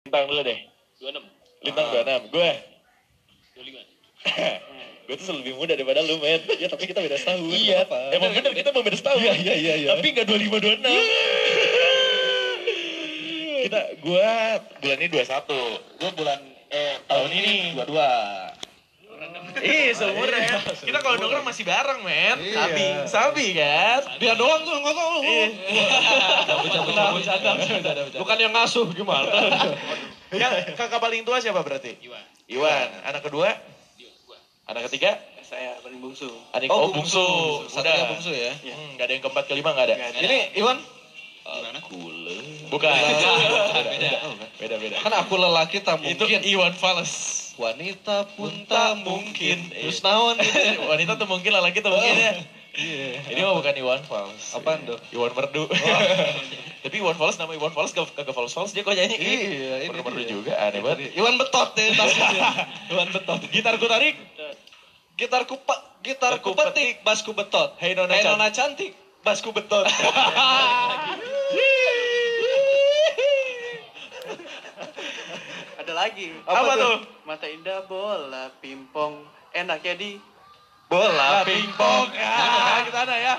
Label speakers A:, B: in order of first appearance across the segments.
A: Lintang dulu deh.
B: 26,
A: Lintang
C: Ah.
A: 26. Gue
B: 25.
A: gue tuh lebih muda daripada lu, men.
C: Ya tapi kita beda setahun.
A: Iya,
C: apa-apa.
A: emang bener kita mau beda setahun.
C: Iya, iya, iya, iya.
A: Tapi nggak 25 26. kita gua bulan ini 21.
D: Gue bulan eh tahun ini dua dua.
E: Ih, seumuran.
C: Iya,
E: Kita kalau nongkrong masih bareng, men.
C: Iya.
E: Sabi, sabi Iya. kan. Dia doang tuh ngomong.
C: Bercanda, bercanda,
E: Bukan yang ngasuh gimana? yang kakak paling tua siapa berarti?
B: Iwan.
E: Iwan. Anak kedua?
B: Dio, gua.
E: Anak ketiga?
B: Saya paling bungsu.
E: Adik
C: Oh,
E: oh, bungsu.
C: Satunya
E: Udah.
C: bungsu ya.
E: Hmm, gak ada yang keempat kelima gak ada.
C: Ini Iwan
B: Gimana?
E: Bukan.
B: Beda.
E: Beda beda.
C: kan aku lelaki tak
E: Itu
C: mungkin.
E: Iwan Fals.
C: Wanita pun
E: Punta
C: tak mungkin. Iya. Oh.
E: mungkin.
C: Terus naon
E: itu? Wanita tuh mungkin, lelaki tuh mungkin ya.
C: Iya.
E: Ini mah bukan Iwan Fals.
C: Apaan tuh?
E: Iwan Merdu. Oh. Tapi Iwan Fals nama Iwan Fals kagak kagak Fals Fals dia kok nyanyi.
C: Iya, ini
E: Merdu Merdu
C: dia.
E: juga aneh banget.
C: Iwan betot deh tasnya. Iwan betot.
E: Gitarku tarik.
C: Gitarku pa, gitarku
E: Gitarku
C: petik, basku betot.
E: Hey Nona
C: Hey,
E: Chan.
C: nona cantik, basku betot.
D: Ada lagi.
E: Apa tuh?
D: Mata indah bola pingpong enak ya di.
C: Nah,
E: Bola pingpong. Ah, Ke sana ya.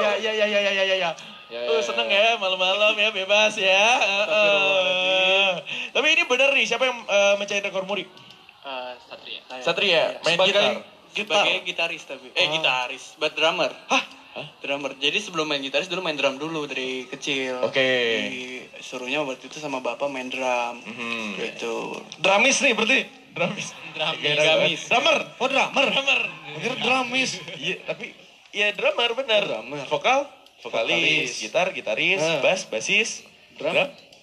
E: Iya iya iya iya iya iya iya.
C: Ya, ya,
E: Tuh seneng
C: ya.
E: ya malam-malam ya bebas ya. Uh,
D: Astagfirullahaladzim.
E: Tapi ini bener nih siapa yang eh, mencari rekor muri? Ah, iya.
D: Eh, Satria. Saya.
E: Satria main
C: Sebagai
E: gitar.
D: Sebagai gitaris tapi. Eh
E: Ah.
D: gitaris, but drummer. Hah? Drummer. Jadi sebelum main gitaris dulu main drum dulu dari kecil.
E: Oke.
D: Disuruhnya waktu itu sama bapak main drum.
C: Hmm.
E: Mhm.
D: Gitu.
C: Dramis nih berarti.
E: Drumis.
B: Dramis.
E: Drumis. Drummer.
C: Oh drummer.
E: Drummer.
C: Akhirnya dramis.
E: Iya, tapi ya drummer bener.
C: Drummer.
E: Vokal,
C: Vokalis.
E: vokalis, gitar, gitaris,
C: Nah.
E: bass, bassis,
C: Drum.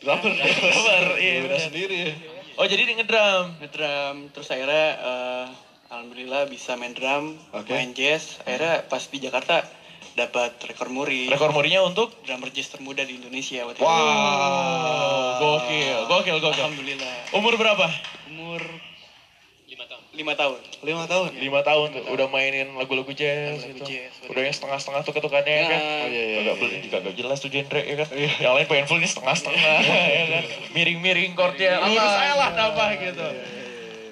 C: Drummer.
E: drummer. Iya,
C: Iya,
E: bener.
C: beda sendiri. ya.
E: Oh, jadi dia ngedrum.
D: ngedrum terus akhirnya eh, alhamdulillah bisa main drum
C: Oke.
D: main jazz akhirnya pas di Jakarta dapat rekor muri
E: Rekor murinya untuk
D: drummer jazz termuda di Indonesia waktu
E: Wow, gokil,
D: Wow.
E: eh, gokil,
D: itu
E: gokil.
D: alhamdulillah
E: Umur berapa?
D: umur
B: 5 tahun.
D: lima tahun
C: Lima tahun.
E: Lima tahun tuh, udah mainin lagu-lagu jazz gitu.
D: Lagu-lagu jazz, bener.
E: udah yang setengah-setengah tuh ketukannya ya
D: Nah.
E: kan
D: Oh,
C: iya, iya,
E: agak
C: iya,
E: beli
C: iya.
E: juga gak jelas tuh genre ya kan yang lain pengen full ini setengah-setengah ya kan miring-miring chordnya lurus aja lah nambah gitu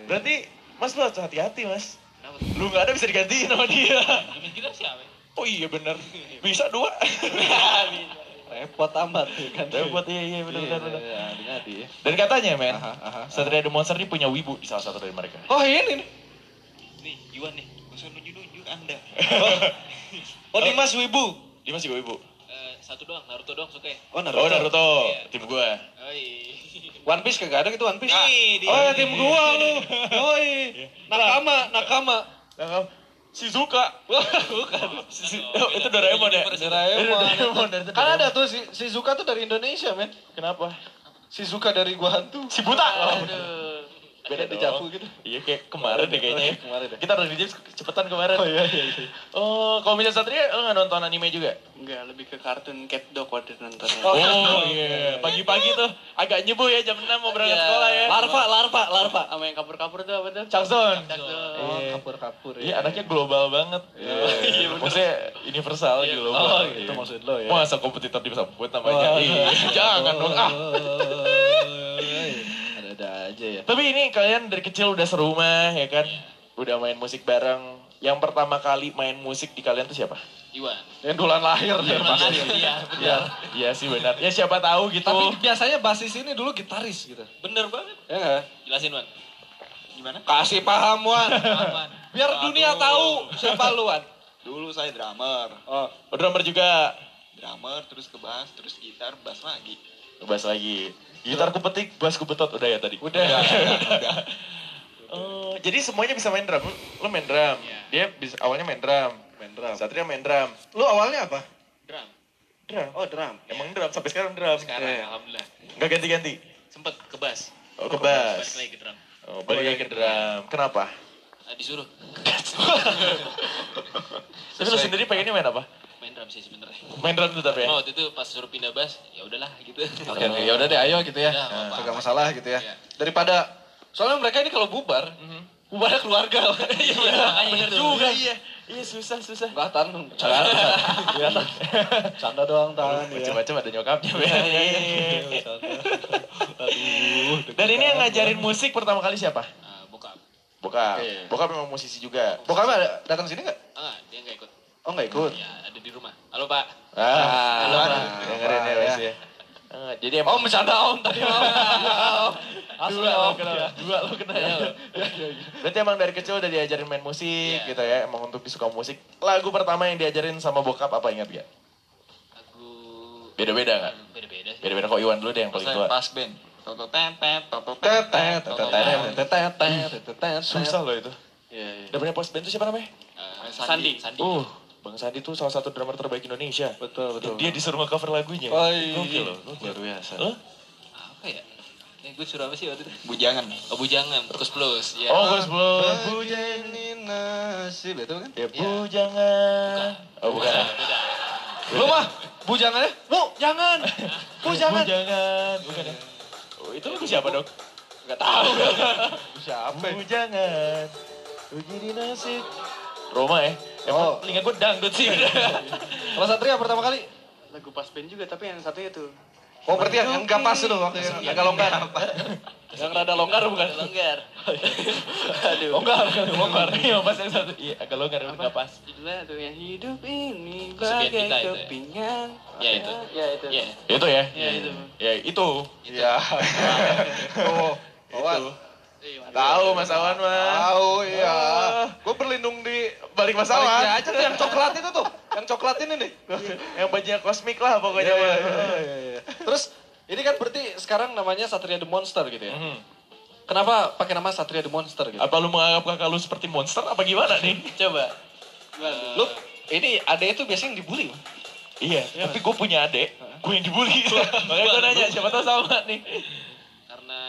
E: berarti mas lu harus hati-hati mas
B: Kenapa?
E: lu gak ada bisa digantiin sama dia
B: Main gitar siapa? ya?
E: oh iya bener bisa dua
C: Repot amat ya kan.
E: buat iya iya bener
C: Iya,
E: bener bener
C: iya, hati-hati ya.
E: dan katanya men
C: Aha, aha, aha.
E: Satria The Monster ini punya wibu di salah satu dari mereka
C: Oh ini nih.
B: Nih, Iwan nih. Gak usah nunjuk-nunjuk Anda.
C: Oh Dimas Wibu.
E: dia masih wibu
B: Eh, satu doang, Naruto doang suka ya?
C: Oh Naruto.
E: oh Naruto
B: Iya.
E: tim gua
B: Oi.
C: One Piece kagak ada gitu One Piece.
B: Nih, dia.
E: oh ya tim gua lu
C: Yoi. Nakama, nakama.
E: Tangkap. Shizuka. Bukan. Shizu- oh, itu Doraemon ya?
B: Universe.
C: Doraemon.
E: Dari Doraemon, dari
C: Kan ada
E: Doraemon.
C: tuh si Shizuka tuh dari Indonesia, men.
E: Kenapa?
C: Shizuka dari gua hantu.
E: Si buta.
C: Aduh. Beda dicapu gitu.
E: Iya kayak kemarin deh
C: Oh,
E: kayaknya. ya.
C: iya, kemarin deh.
E: Kita udah di cepetan kemarin.
C: Oh iya iya iya.
E: Oh, kalau misalnya Satria lo nggak nonton anime juga?
D: enggak lebih ke kartun cat dog waktu itu nontonnya
E: Oh iya, pagi-pagi tuh agak nyebu ya jam 6 mau berangkat
D: Iya.
E: sekolah ya.
C: Larva, larva, larva.
D: sama yang kapur-kapur tuh apa tuh
E: Changson.
D: Cakdog.
C: Oh,
E: Iya.
C: kapur-kapur
E: Iya, anaknya global banget.
C: Iya.
E: Iya, maksudnya universal
C: Oh,
E: global.
C: itu maksud lo ya.
E: Iya.
C: Oh.
E: Masa kompetitor di Subway namanya? Iya, jangan dong. Ah.
C: Ada-ada aja ya. Iya.
E: Tapi ini kalian dari kecil udah serumah ya kan? Udah main musik bareng. Yang pertama kali main musik di kalian tuh siapa?
B: Iwan.
C: Yang dulan lahir deh
B: Iwan
C: pasti.
B: Adil, Iya, benar.
E: Ya, iya sih benar. Ya siapa tahu gitu.
C: Tapi biasanya basis ini dulu gitaris gitu.
B: Bener banget.
C: Ya nggak?
B: Jelasin, Wan. Gimana?
C: Kasih paham Wan.
B: Wan.
C: Biar dunia tahu siapa lu Wan.
F: Dulu saya drummer,
C: Oh,
E: Oh, drummer juga.
F: drummer terus ke bass, terus gitar, bass lagi.
E: Bass lagi. Gitar ku petik, bass ku betot. Udah ya tadi.
C: udah.
E: Oh, jadi semuanya bisa main drum. Lo main drum. Dia bisa, awalnya main drum.
C: Main drum.
E: Satria main drum.
C: Lu awalnya apa?
B: Drum.
E: Drum.
C: Oh, drum.
E: Emang drum sampai sekarang drum.
B: Sekarang,
C: Iya.
B: Eh, alhamdulillah.
E: Gak ganti-ganti.
B: Sempet ke gitu, bass.
E: Oh, ke bass.
B: Balik lagi ke drum.
E: Oh, balik lagi ke drum. Kenapa?
B: Ah, disuruh.
E: Tapi lo sendiri pengennya main apa?
B: Main drum sih sebenernya.
E: Main drum tetap ya?
B: Cuma waktu itu pas suruh pindah bass, ya udahlah gitu.
C: Oke, oke, ya udah deh, ayo gitu ya.
B: Udah, nggak apa-apa.
C: Kagak masalah gitu ya.
B: Iya. Mhm.
C: Daripada soalnya mereka ini kalau bubar, bubarnya keluarga.
B: Iya, makanya
C: bener
B: itu.
C: juga.
E: Iya.
D: Iya susah susah.
G: Enggak tahan. Canda, canda. canda doang tahan.
C: iya.
G: Baca-baca ada nyokapnya.
A: Dan ini yang ngajarin musik pertama kali siapa?
C: Ah, bokap.
A: kan. Bokap.
G: Iya.
A: Bokap memang musisi juga.
G: Bokap ada datang sini nggak?
C: Ah, nggak, dia nggak ikut.
A: Oh nggak ikut?
C: Ya, ada di rumah. Halo, Pak.
A: Ah,
G: Halo, Pak.
A: dengerin ya Wes ya. Ah, Jadi emang Iya,
G: Om bercanda om tadi om.
A: dua lo kena, dua lo kena.
C: Iya,
A: Iya, Berarti emang dari kecil udah diajarin main musik
C: Iya.
A: gitu ya, emang untuk disuka musik. Lagu pertama yang diajarin sama bokap apa ingat gak?
C: Aku
A: Beda-beda nggak?
C: Hmm, beda-beda sih.
A: Beda-beda kok Iwan dulu deh yang paling tua.
E: pas band. Toto tempet, toto
G: Tetet,
E: tempet,
G: tetet,
E: toto
G: tetet,
E: tempet.
G: tetet, tetet, tetet.
A: Susah loh itu.
G: Iya, iya.
A: Udah punya post band tuh siapa namanya?
C: Ah,
D: Sandi.
C: Sandi.
A: Uh, Bang Sandi tuh salah satu drummer terbaik Indonesia.
G: Betul, betul.
A: Dia disuruh nge-cover lagunya.
E: Oh, iya.
G: Oi,
A: Oke loh.
G: luar biasa.
A: Hah?
C: Apa ya? Eh, gue suruh apa sih waktu itu?
E: Bujangan.
C: Oh, bujangan. Terus plus. Ya.
G: Iya.
A: Oh, Gus Blon.
E: Bujangan nasib itu kan.
A: Ya bu jangan. Oh bukan.
C: Beda.
G: Lu mah bujangannya? Bu, jangan. Bu, jangan.
A: Bu jangan. Bukan ya. Oh, itu lagu siapa dok? Ya
G: Enggak tahu.
A: Nah, Apa? Bu jangan. Begini nasib. Roma ya.
G: Oh.
A: Emang telinga gue dangdut sih.
G: Kalau Satria pertama kali
D: Lagu pas band juga tapi yang satunya tuh
G: Oh, berarti
A: ya?
G: yang enggak pas itu waktu yang
B: Iya,
G: agak longgar.
A: Yang rada longgar bukan?
D: longgar. Aduh.
A: Longgar, longgar. Iya pas yang satu. Iya agak longgar, nggak pas.
D: Judulnya tuh yang hidup ini
C: Terus band
D: bagai
C: kita itu ya?
D: kepingan.
C: Ya, itu.
D: Ya itu.
C: Ya.
A: Itu ya.
D: Ya, itu.
A: Ya itu.
G: Iya. Oh, Awan.
D: Iya,
A: Tahu Mas Awan mah.
G: Tahu iya. Gue berlindung di
A: Balik Mas Awan.
G: Baliknya aja tuh
E: kan?
G: yang coklat itu tuh. Yang coklat ini nih.
A: Yang bajunya kosmik lah pokoknya.
G: Iya,
A: Mas.
G: iya, iya. Terus ini kan berarti sekarang namanya Satria the Monster gitu ya.
A: Mhm.
G: Kenapa pakai nama Satria the Monster gitu?
A: Apa lu menganggap kakak lu seperti monster apa gimana nih?
G: Coba.
D: Gimana tuh?
G: Lu ini adek itu biasanya yang dibully. Bang.
A: Iya, tapi gue punya adek, gue yang dibully. Makanya gue nanya, siapa tau sama nih.
C: Karena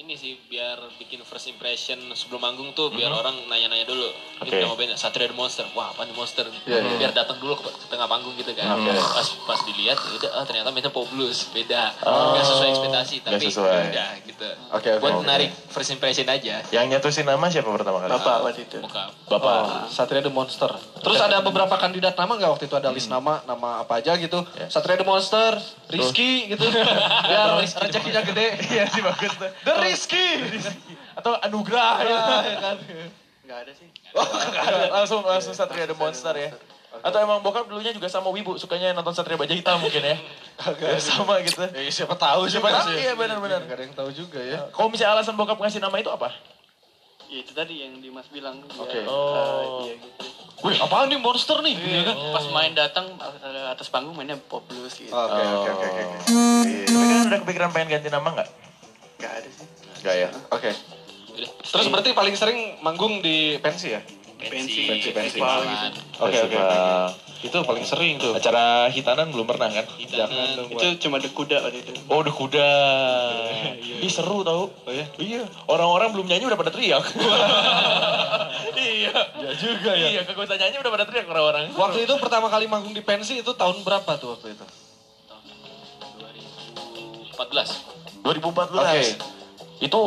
C: ini sih biar bikin first impression sebelum manggung tuh biar orang nanya-nanya dulu. Ini
A: Mhm. Oke.
C: nama bandnya Satria the Monster. Wah, apa nih Monster?
G: Iya, iya.
C: Biar datang dulu ke ke tengah panggung gitu kan.
A: Oke.
C: Pas pas dilihat, ya udah ah, ternyata bandnya Poblus, beda.
A: Oh.
C: Nggak sesuai ekspektasi,
A: Nggak
C: tapi
A: sesuai.
C: udah gitu.
A: Oke, oke,
C: Buat
A: oke.
C: menarik first impression aja.
A: Yang nyatusin nama siapa pertama kali?
D: Bapak waktu itu.
C: Bokap.
A: Bapak.
G: Oh, Satria the Monster. Terus ada beberapa kandidat nama nggak waktu itu ada list nama, nama apa aja gitu.
A: Ya.
G: Satria the Monster, Rizky gitu. Biar rezekinya gede.
A: Iya sih bagus tuh.
G: The Rizky.
A: Atau Anugrah. ya.
D: Enggak ada sih.
A: langsung langsung Satria the Monster ya. Atau emang bokap dulunya juga sama Wibu, sukanya nonton Satria Baja Hitam mungkin ya. Ya, sama gitu.
G: Eh, siapa tahu
A: Siapa
G: juga
A: tahu,
G: sih.
A: iya, benar-benar.
G: Gak ada yang tahu juga ya.
A: Kalau misalnya alasan bokap ngasih nama itu apa?
D: Ya itu tadi yang Dimas bilang. biar,
G: Oke.
D: eh,
A: Oh.
D: iya, gitu.
G: Wih, apaan nih monster nih? Gitu
A: Iya.
G: kan?
D: Pas main datang eh, atas panggung mainnya pop blues gitu.
A: Oh,
G: Oke, oke, oke, oke. oke.
A: Tapi kan udah kepikiran pengen ganti nama nggak?
D: Enggak ada sih.
A: Nggak ya.
G: Oke.
C: Udah.
G: Terus berarti paling sering manggung di pensi ya?
D: Pensi,
C: pensi,
D: pensi.
C: Festivalan.
D: gitu.
G: Oke, oke. Itu paling sering tuh.
A: Acara hitanan belum pernah kan?
C: Hidangan.
D: Itu cuma The Kuda waktu itu.
A: Oh, udah kuda. Ih, seru tau.
G: Oh ya?
A: Iya, orang-orang belum nyanyi udah pada teriak. iya. Ya juga ya. Iya, kagak usah nyanyi udah pada teriak orang-orang.
G: Waktu itu pertama kali manggung di pensi itu tahun berapa tuh waktu itu?
C: 2014
A: 2014.
G: Oke.
A: Itu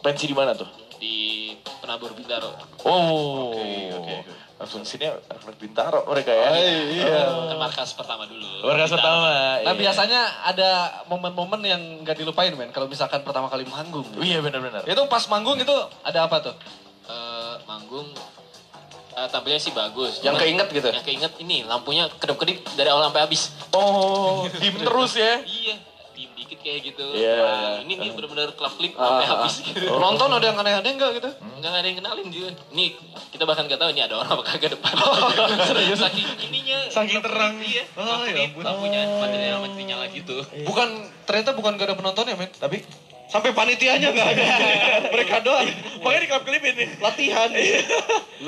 A: pensi di mana tuh?
C: di Penabur Bintaro.
A: Oh. Oke,
G: oke,
A: oke.
G: oke.
A: Langsung sini Ahmad Bintaro mereka ya.
G: iya.
C: Kan markas pertama dulu.
A: Warga
C: Bintaro.
A: pertama.
G: Nah
A: iya.
G: biasanya ada momen-momen yang nggak dilupain men kalau misalkan pertama kali manggung.
A: Iya benar-benar.
G: Itu pas manggung itu ada apa tuh?
C: Eh, manggung eh, tampilnya sih bagus.
G: Yang
C: Cuman
G: keinget gitu?
C: Yang keinget ini lampunya kedap-kedip dari awal sampai habis.
A: Oh, tim terus ya.
C: Iya, diem dikit kayak gitu.
A: Iya.
C: Wah, Ini nih benar-benar klap klip sampai habis gitu.
A: Oh.
C: Hmm.
G: Ah, Nonton ada yang aneh-aneh nggak gitu?
C: Enggak ada yang kenalin juga. Nih, kita bahkan gak tahu ini ada orang apa kagak depan. Serius saking ininya.
A: Saking terang.
C: Iya.
A: Oh,
C: Oh,
A: ya ampun. Iya.
C: lampunya material material gitu.
G: Bukan ternyata bukan gak ada penontonnya men, tapi sampai panitianya nggak ada. Mereka doang
A: Makanya di klub klipin nih.
G: latihan.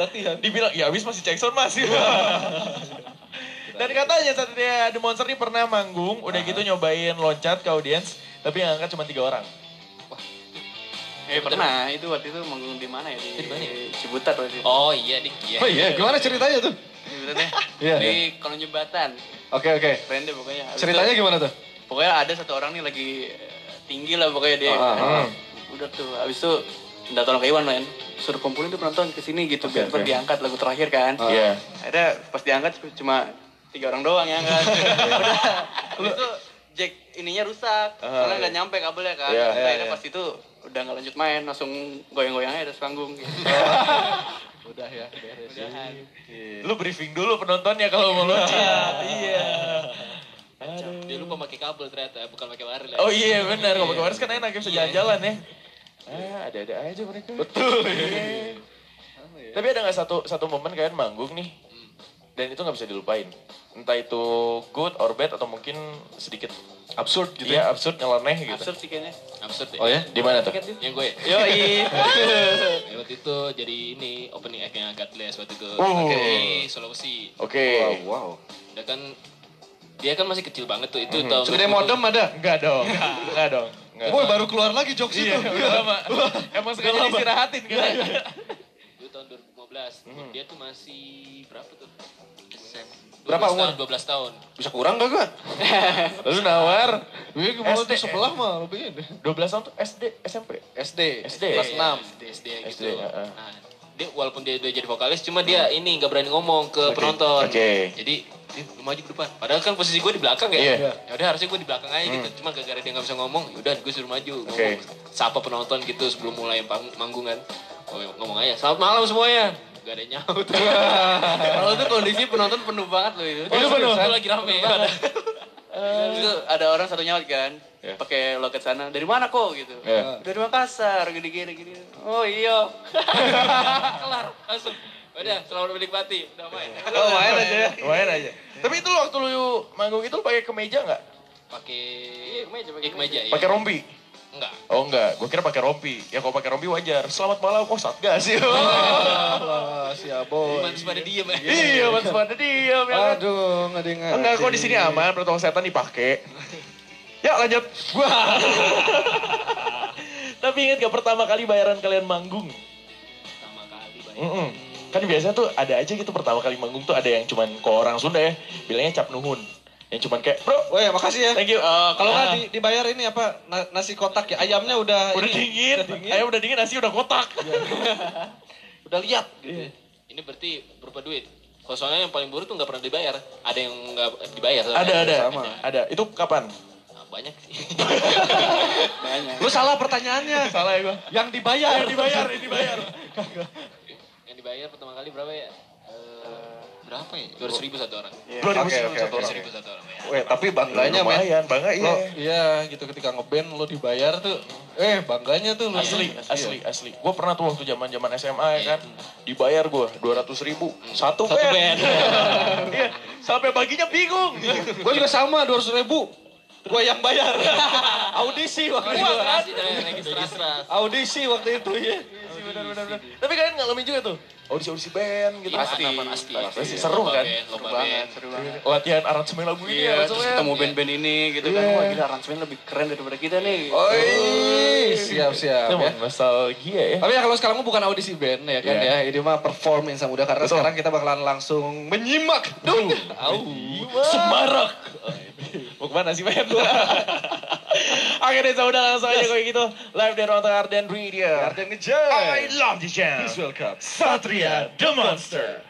G: latihan.
A: Dibilang ya habis masih Jackson masih. Dan katanya saat dia The Monster ini pernah manggung, udah gitu nyobain loncat ke audiens, tapi yang angkat cuma tiga orang.
D: Eh pernah, itu waktu itu manggung di mana ya? Di,
C: Di mana ya?
D: Cibutat waktu itu.
C: Oh iya, Dik. Iya.
G: Oh iya, gimana ceritanya tuh?
D: Cibutat ya.
G: Iya,
D: di kolong jembatan.
G: Oke oke.
D: Keren deh pokoknya. Habis
G: Ceritanya
D: itu,
G: gimana tuh?
D: Pokoknya ada satu orang nih lagi eh, tinggi lah pokoknya dia.
G: Ah, ah.
D: Udah tuh, habis itu minta tolong ke Iwan men suruh kumpulin tuh penonton ke sini gitu biar
A: oke.
D: cepet diangkat lagu terakhir kan
A: Iya.
D: ada pas diangkat cuma tiga orang doang yang angkat
A: Iya.
D: udah habis itu jack ininya rusak karena nggak nyampe kabelnya
A: Ah.
D: kan
A: Iya,
D: Terus
A: iya,
D: akhirnya pas itu udah nggak lanjut main langsung goyang-goyangnya atas panggung gitu.
A: Ah,
C: Udah ya, beres.
D: Udahan.
E: Lu briefing dulu penontonnya kalau mau loncat. iya.
B: Dia lupa pakai kabel ternyata, bukan pakai warna.
E: Oh iya benar, kalau pakai wireless kan enak ya bisa jalan-jalan ya.
A: Ah, ada-ada aja mereka.
E: Betul. Iya. Tapi ada nggak satu satu momen kalian manggung nih dan itu nggak bisa dilupain. Entah itu good or bad atau mungkin sedikit absurd gitu ya, absurd nyeleneh gitu.
D: absurd sih kayaknya
B: Absurd ya.
E: Oh ya, di mana tuh?
B: Yang gue.
D: yo
B: Ya, waktu itu jadi ini opening act-nya Godless waktu itu.
E: Oh.
B: Oke, di Sulawesi.
E: Oke.
F: wow.
B: Dia kan dia kan masih kecil banget tuh itu
E: Mhm.
B: tahun
C: Segede modem ada.
E: Enggak dong. Enggak dong. Enggak.
C: Boy baru keluar lagi jokes
E: Iya,
C: itu.
E: udah lama. Emang sengaja istirahatin kan?
B: itu tahun 2015.
E: Mhm.
B: Dia tuh masih berapa tuh? SMP.
E: Berapa
B: 12 tahun, 12 tahun.
E: Bisa kurang kagak? Lu nawar
C: Gue kemarin
E: SD.
C: tuh sebelah mah lebih ini.
E: 12 tahun tuh SD, SMP.
C: SD.
E: SD.
C: Kelas 6.
B: SD, SD gitu.
E: Iya, SD, ya, ah.
B: Nah, dia walaupun dia udah jadi vokalis, cuma dia ini nggak berani ngomong ke
E: Hmm.
B: penonton.
E: Oke.
B: Jadi "Ih, lu maju ke depan. Padahal kan posisi gue di belakang ya.
E: Iya. Hmm.
B: Ya udah harusnya gue di belakang aja gitu. Cuma gara-gara dia nggak bisa ngomong, ya udah gue suruh maju.
E: Oke.
B: Ngomong, sapa penonton gitu sebelum mulai pang- manggungan. ya, Ngomong aja, selamat malam semuanya. Gak ada yang nyaut.
E: Iya,
D: kalau itu kondisi penonton penuh banget loh itu
E: Itu penuh.
B: Itu lagi rame.
D: itu ada orang satu nyawa kan pakai loket sana dari mana kok gitu
E: Iya.
D: dari Makassar gini gini gini oh iya
B: Kelar, langsung. Ya Udah,
E: Iya.
B: selamat menikmati. Udah main.
D: oh main aja ya
E: Lumayan aja. Tapi itu waktu lu manggung itu lu pakai kemeja nggak?
B: Pakai meja, pakai meja. iya.
E: Iya. Pakai rompi?
B: Enggak.
E: Oh enggak, gue kira pakai rompi. Ya kalau pakai rompi wajar. Selamat malam, oh satgas.
C: Oh. Wah, si Aboy.
B: Manis pada diem ya.
E: Oh, iya, mas pada diam ya kan.
C: Aduh, nggak ada yang
E: Enggak kok di
C: ngerti.
E: sini aman, protokol kesehatan dipakai. Ya lanjut. Wah. Tapi ingat gak pertama kali bayaran kalian manggung?
B: Pertama kali banyak.
E: Mm-mm. Kan biasanya tuh ada aja gitu pertama kali manggung tuh ada yang cuman ke orang Sunda ya, bilangnya cap nuhun. Yang cuman kayak, bro,
C: Woi, makasih ya.
E: thank you.
C: Eh, kalau nggak
E: Ah.
C: di- dibayar ini apa na- nasi kotak ya ayamnya udah
E: udah
C: ini,
E: dingin,
C: udah dingin.
E: ayam udah dingin, nasi udah kotak.
C: udah lihat
B: Ini berarti berupa duit. Kalau soalnya yang paling buruk tuh nggak pernah dibayar. Ada yang nggak dibayar. soalnya.
E: ada, ada,
C: Sama.
E: ada. Itu kapan?
B: Nah, banyak sih.
D: banyak
C: lu salah pertanyaannya
E: Salah ya gua.
C: yang dibayar
E: Yang dibayar, yang dibayar.
B: yang dibayar pertama kali berapa ya? Eh, berapa ya? Dua ribu satu orang.
E: Dua ribu satu
B: Dua
E: orang.
B: ribu satu orang.
E: Iya.
B: ya.
E: Eh,
C: Weh, tapi bangganya men
E: lumayan, bangga iya.
C: lo iya gitu ketika ngeband lo dibayar tuh eh bangganya tuh lo
E: Asli, asli, asli. Gue Iya. pernah tuh waktu zaman zaman SMA ya kan, dibayar gue dua ratus ribu satu
B: Satu
E: band.
B: band. Iya.
E: Iya, sampai baginya bingung.
C: gue juga sama dua ribu gue yang bayar audisi waktu itu
E: kan.
B: Registrasi, nah, registrasi.
C: audisi waktu itu ya
E: iya. Tapi kalian ngalamin juga tuh audisi audisi band gitu.
B: Pasti, pasti,
E: Pasti seru
B: Lomba
E: kan?
B: band, Lomba
D: banget
B: band.
D: seru banget
E: Latihan aransemen lagu ini
D: Iya, terus
E: aransemen.
D: ketemu band-band ini gitu kan. Wah, gila aransemen lebih keren daripada kita nih.
C: oi siap siap
E: Itu
C: ya
E: emang nostalgia ya.
C: tapi ya kalau sekarang mah bukan audisi band ya kan
E: Iya.
C: ya ini mah perform Insan Muda karena
E: Betul.
C: sekarang kita bakalan langsung menyimak dong
E: Semarak. Mau kemana sih Ben? Oke deh, udah langsung aja kayak gitu. Live dari Ruang Tengah Arden Radio.
C: Garden ngejar
E: love this jam.
C: Please welcome
E: Satria The Monster.